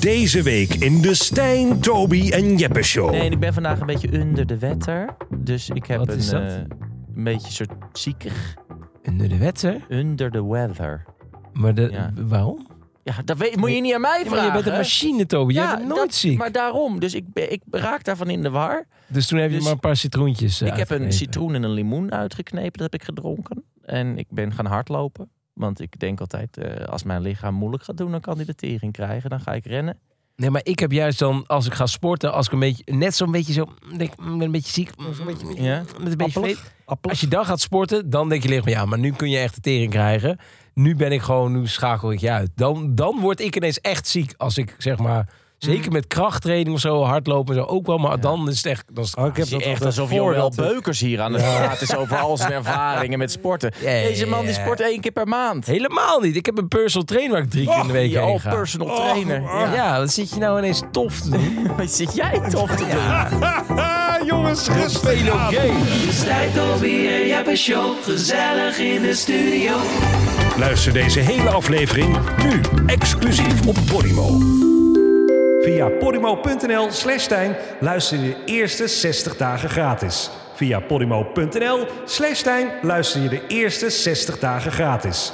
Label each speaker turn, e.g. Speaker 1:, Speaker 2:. Speaker 1: Deze week in de Stijn, Toby en Jeppe Show.
Speaker 2: Nee, en ik ben vandaag een beetje onder de wetter. Dus ik heb
Speaker 3: Oh. Wat
Speaker 2: een,
Speaker 3: is dat?
Speaker 2: eh, een beetje soort ziekig.
Speaker 3: Onder de wetter?
Speaker 2: Under the weather.
Speaker 3: Maar de,
Speaker 2: Ja.
Speaker 3: waarom?
Speaker 2: Ja, dat weet, moet je niet aan mij
Speaker 3: Ja, maar
Speaker 2: vragen.
Speaker 3: je bent een machine, Toby. Jij
Speaker 2: Ja,
Speaker 3: bent nooit
Speaker 2: dat-
Speaker 3: ziek.
Speaker 2: Maar daarom. Dus ik, ben- ik raak daarvan in de war.
Speaker 3: dus toen heb je
Speaker 2: dus-
Speaker 3: maar een paar citroentjes eh,
Speaker 2: ik heb een
Speaker 3: uitgegeven.
Speaker 2: citroen en een limoen uitgeknepen. Dat heb ik gedronken. En ik ben gaan hardlopen. Want ik denk altijd, eh, als mijn lichaam moeilijk gaat doen, dan kan hij de tering krijgen. Dan ga ik rennen.
Speaker 3: Nee, maar ik heb juist dan, als ik ga sporten, als ik een beetje, net zo'n beetje zo, mm, denk, ik, mm, ben een beetje ziek, mm, een beetje,
Speaker 2: Ja.
Speaker 3: met een beetje
Speaker 2: Appelig.
Speaker 3: vreed. Als je dan gaat sporten, dan denk je lichaam, ja, maar nu kun je echt de tering krijgen. Nu ben ik gewoon, nu schakel ik je uit. Dan, dan word ik ineens echt ziek als ik, zeg maar, zeker met krachttraining of zo, hardlopen en zo ook wel, maar dan is het echt, dan is het-
Speaker 4: Oh, ik heb
Speaker 2: Het is
Speaker 4: dat
Speaker 2: echt
Speaker 4: altijd
Speaker 2: alsof
Speaker 4: voordat
Speaker 2: Joël
Speaker 4: het-
Speaker 2: Beukers hier aan het praten is over al zijn ervaringen met sporten.
Speaker 3: Ja, ja,
Speaker 2: Deze man die
Speaker 3: ja.
Speaker 2: sport één keer per maand.
Speaker 3: helemaal niet. Ik heb een personal trainer waar ik drie keer in de week
Speaker 2: Ja,
Speaker 3: heen
Speaker 2: oh,
Speaker 3: ga. oh.
Speaker 2: personal trainer.
Speaker 3: ja. wat zit je nou ineens tof te doen?
Speaker 2: Ja. Wat zit jij tof te doen?
Speaker 1: Haha, jongens, rustig aan. Luister deze hele aflevering nu exclusief op Podimo. Via podimo.nl slash Stijn luister je de eerste 60 dagen gratis. Via podimo.nl slash Stijn luister je de eerste 60 dagen gratis.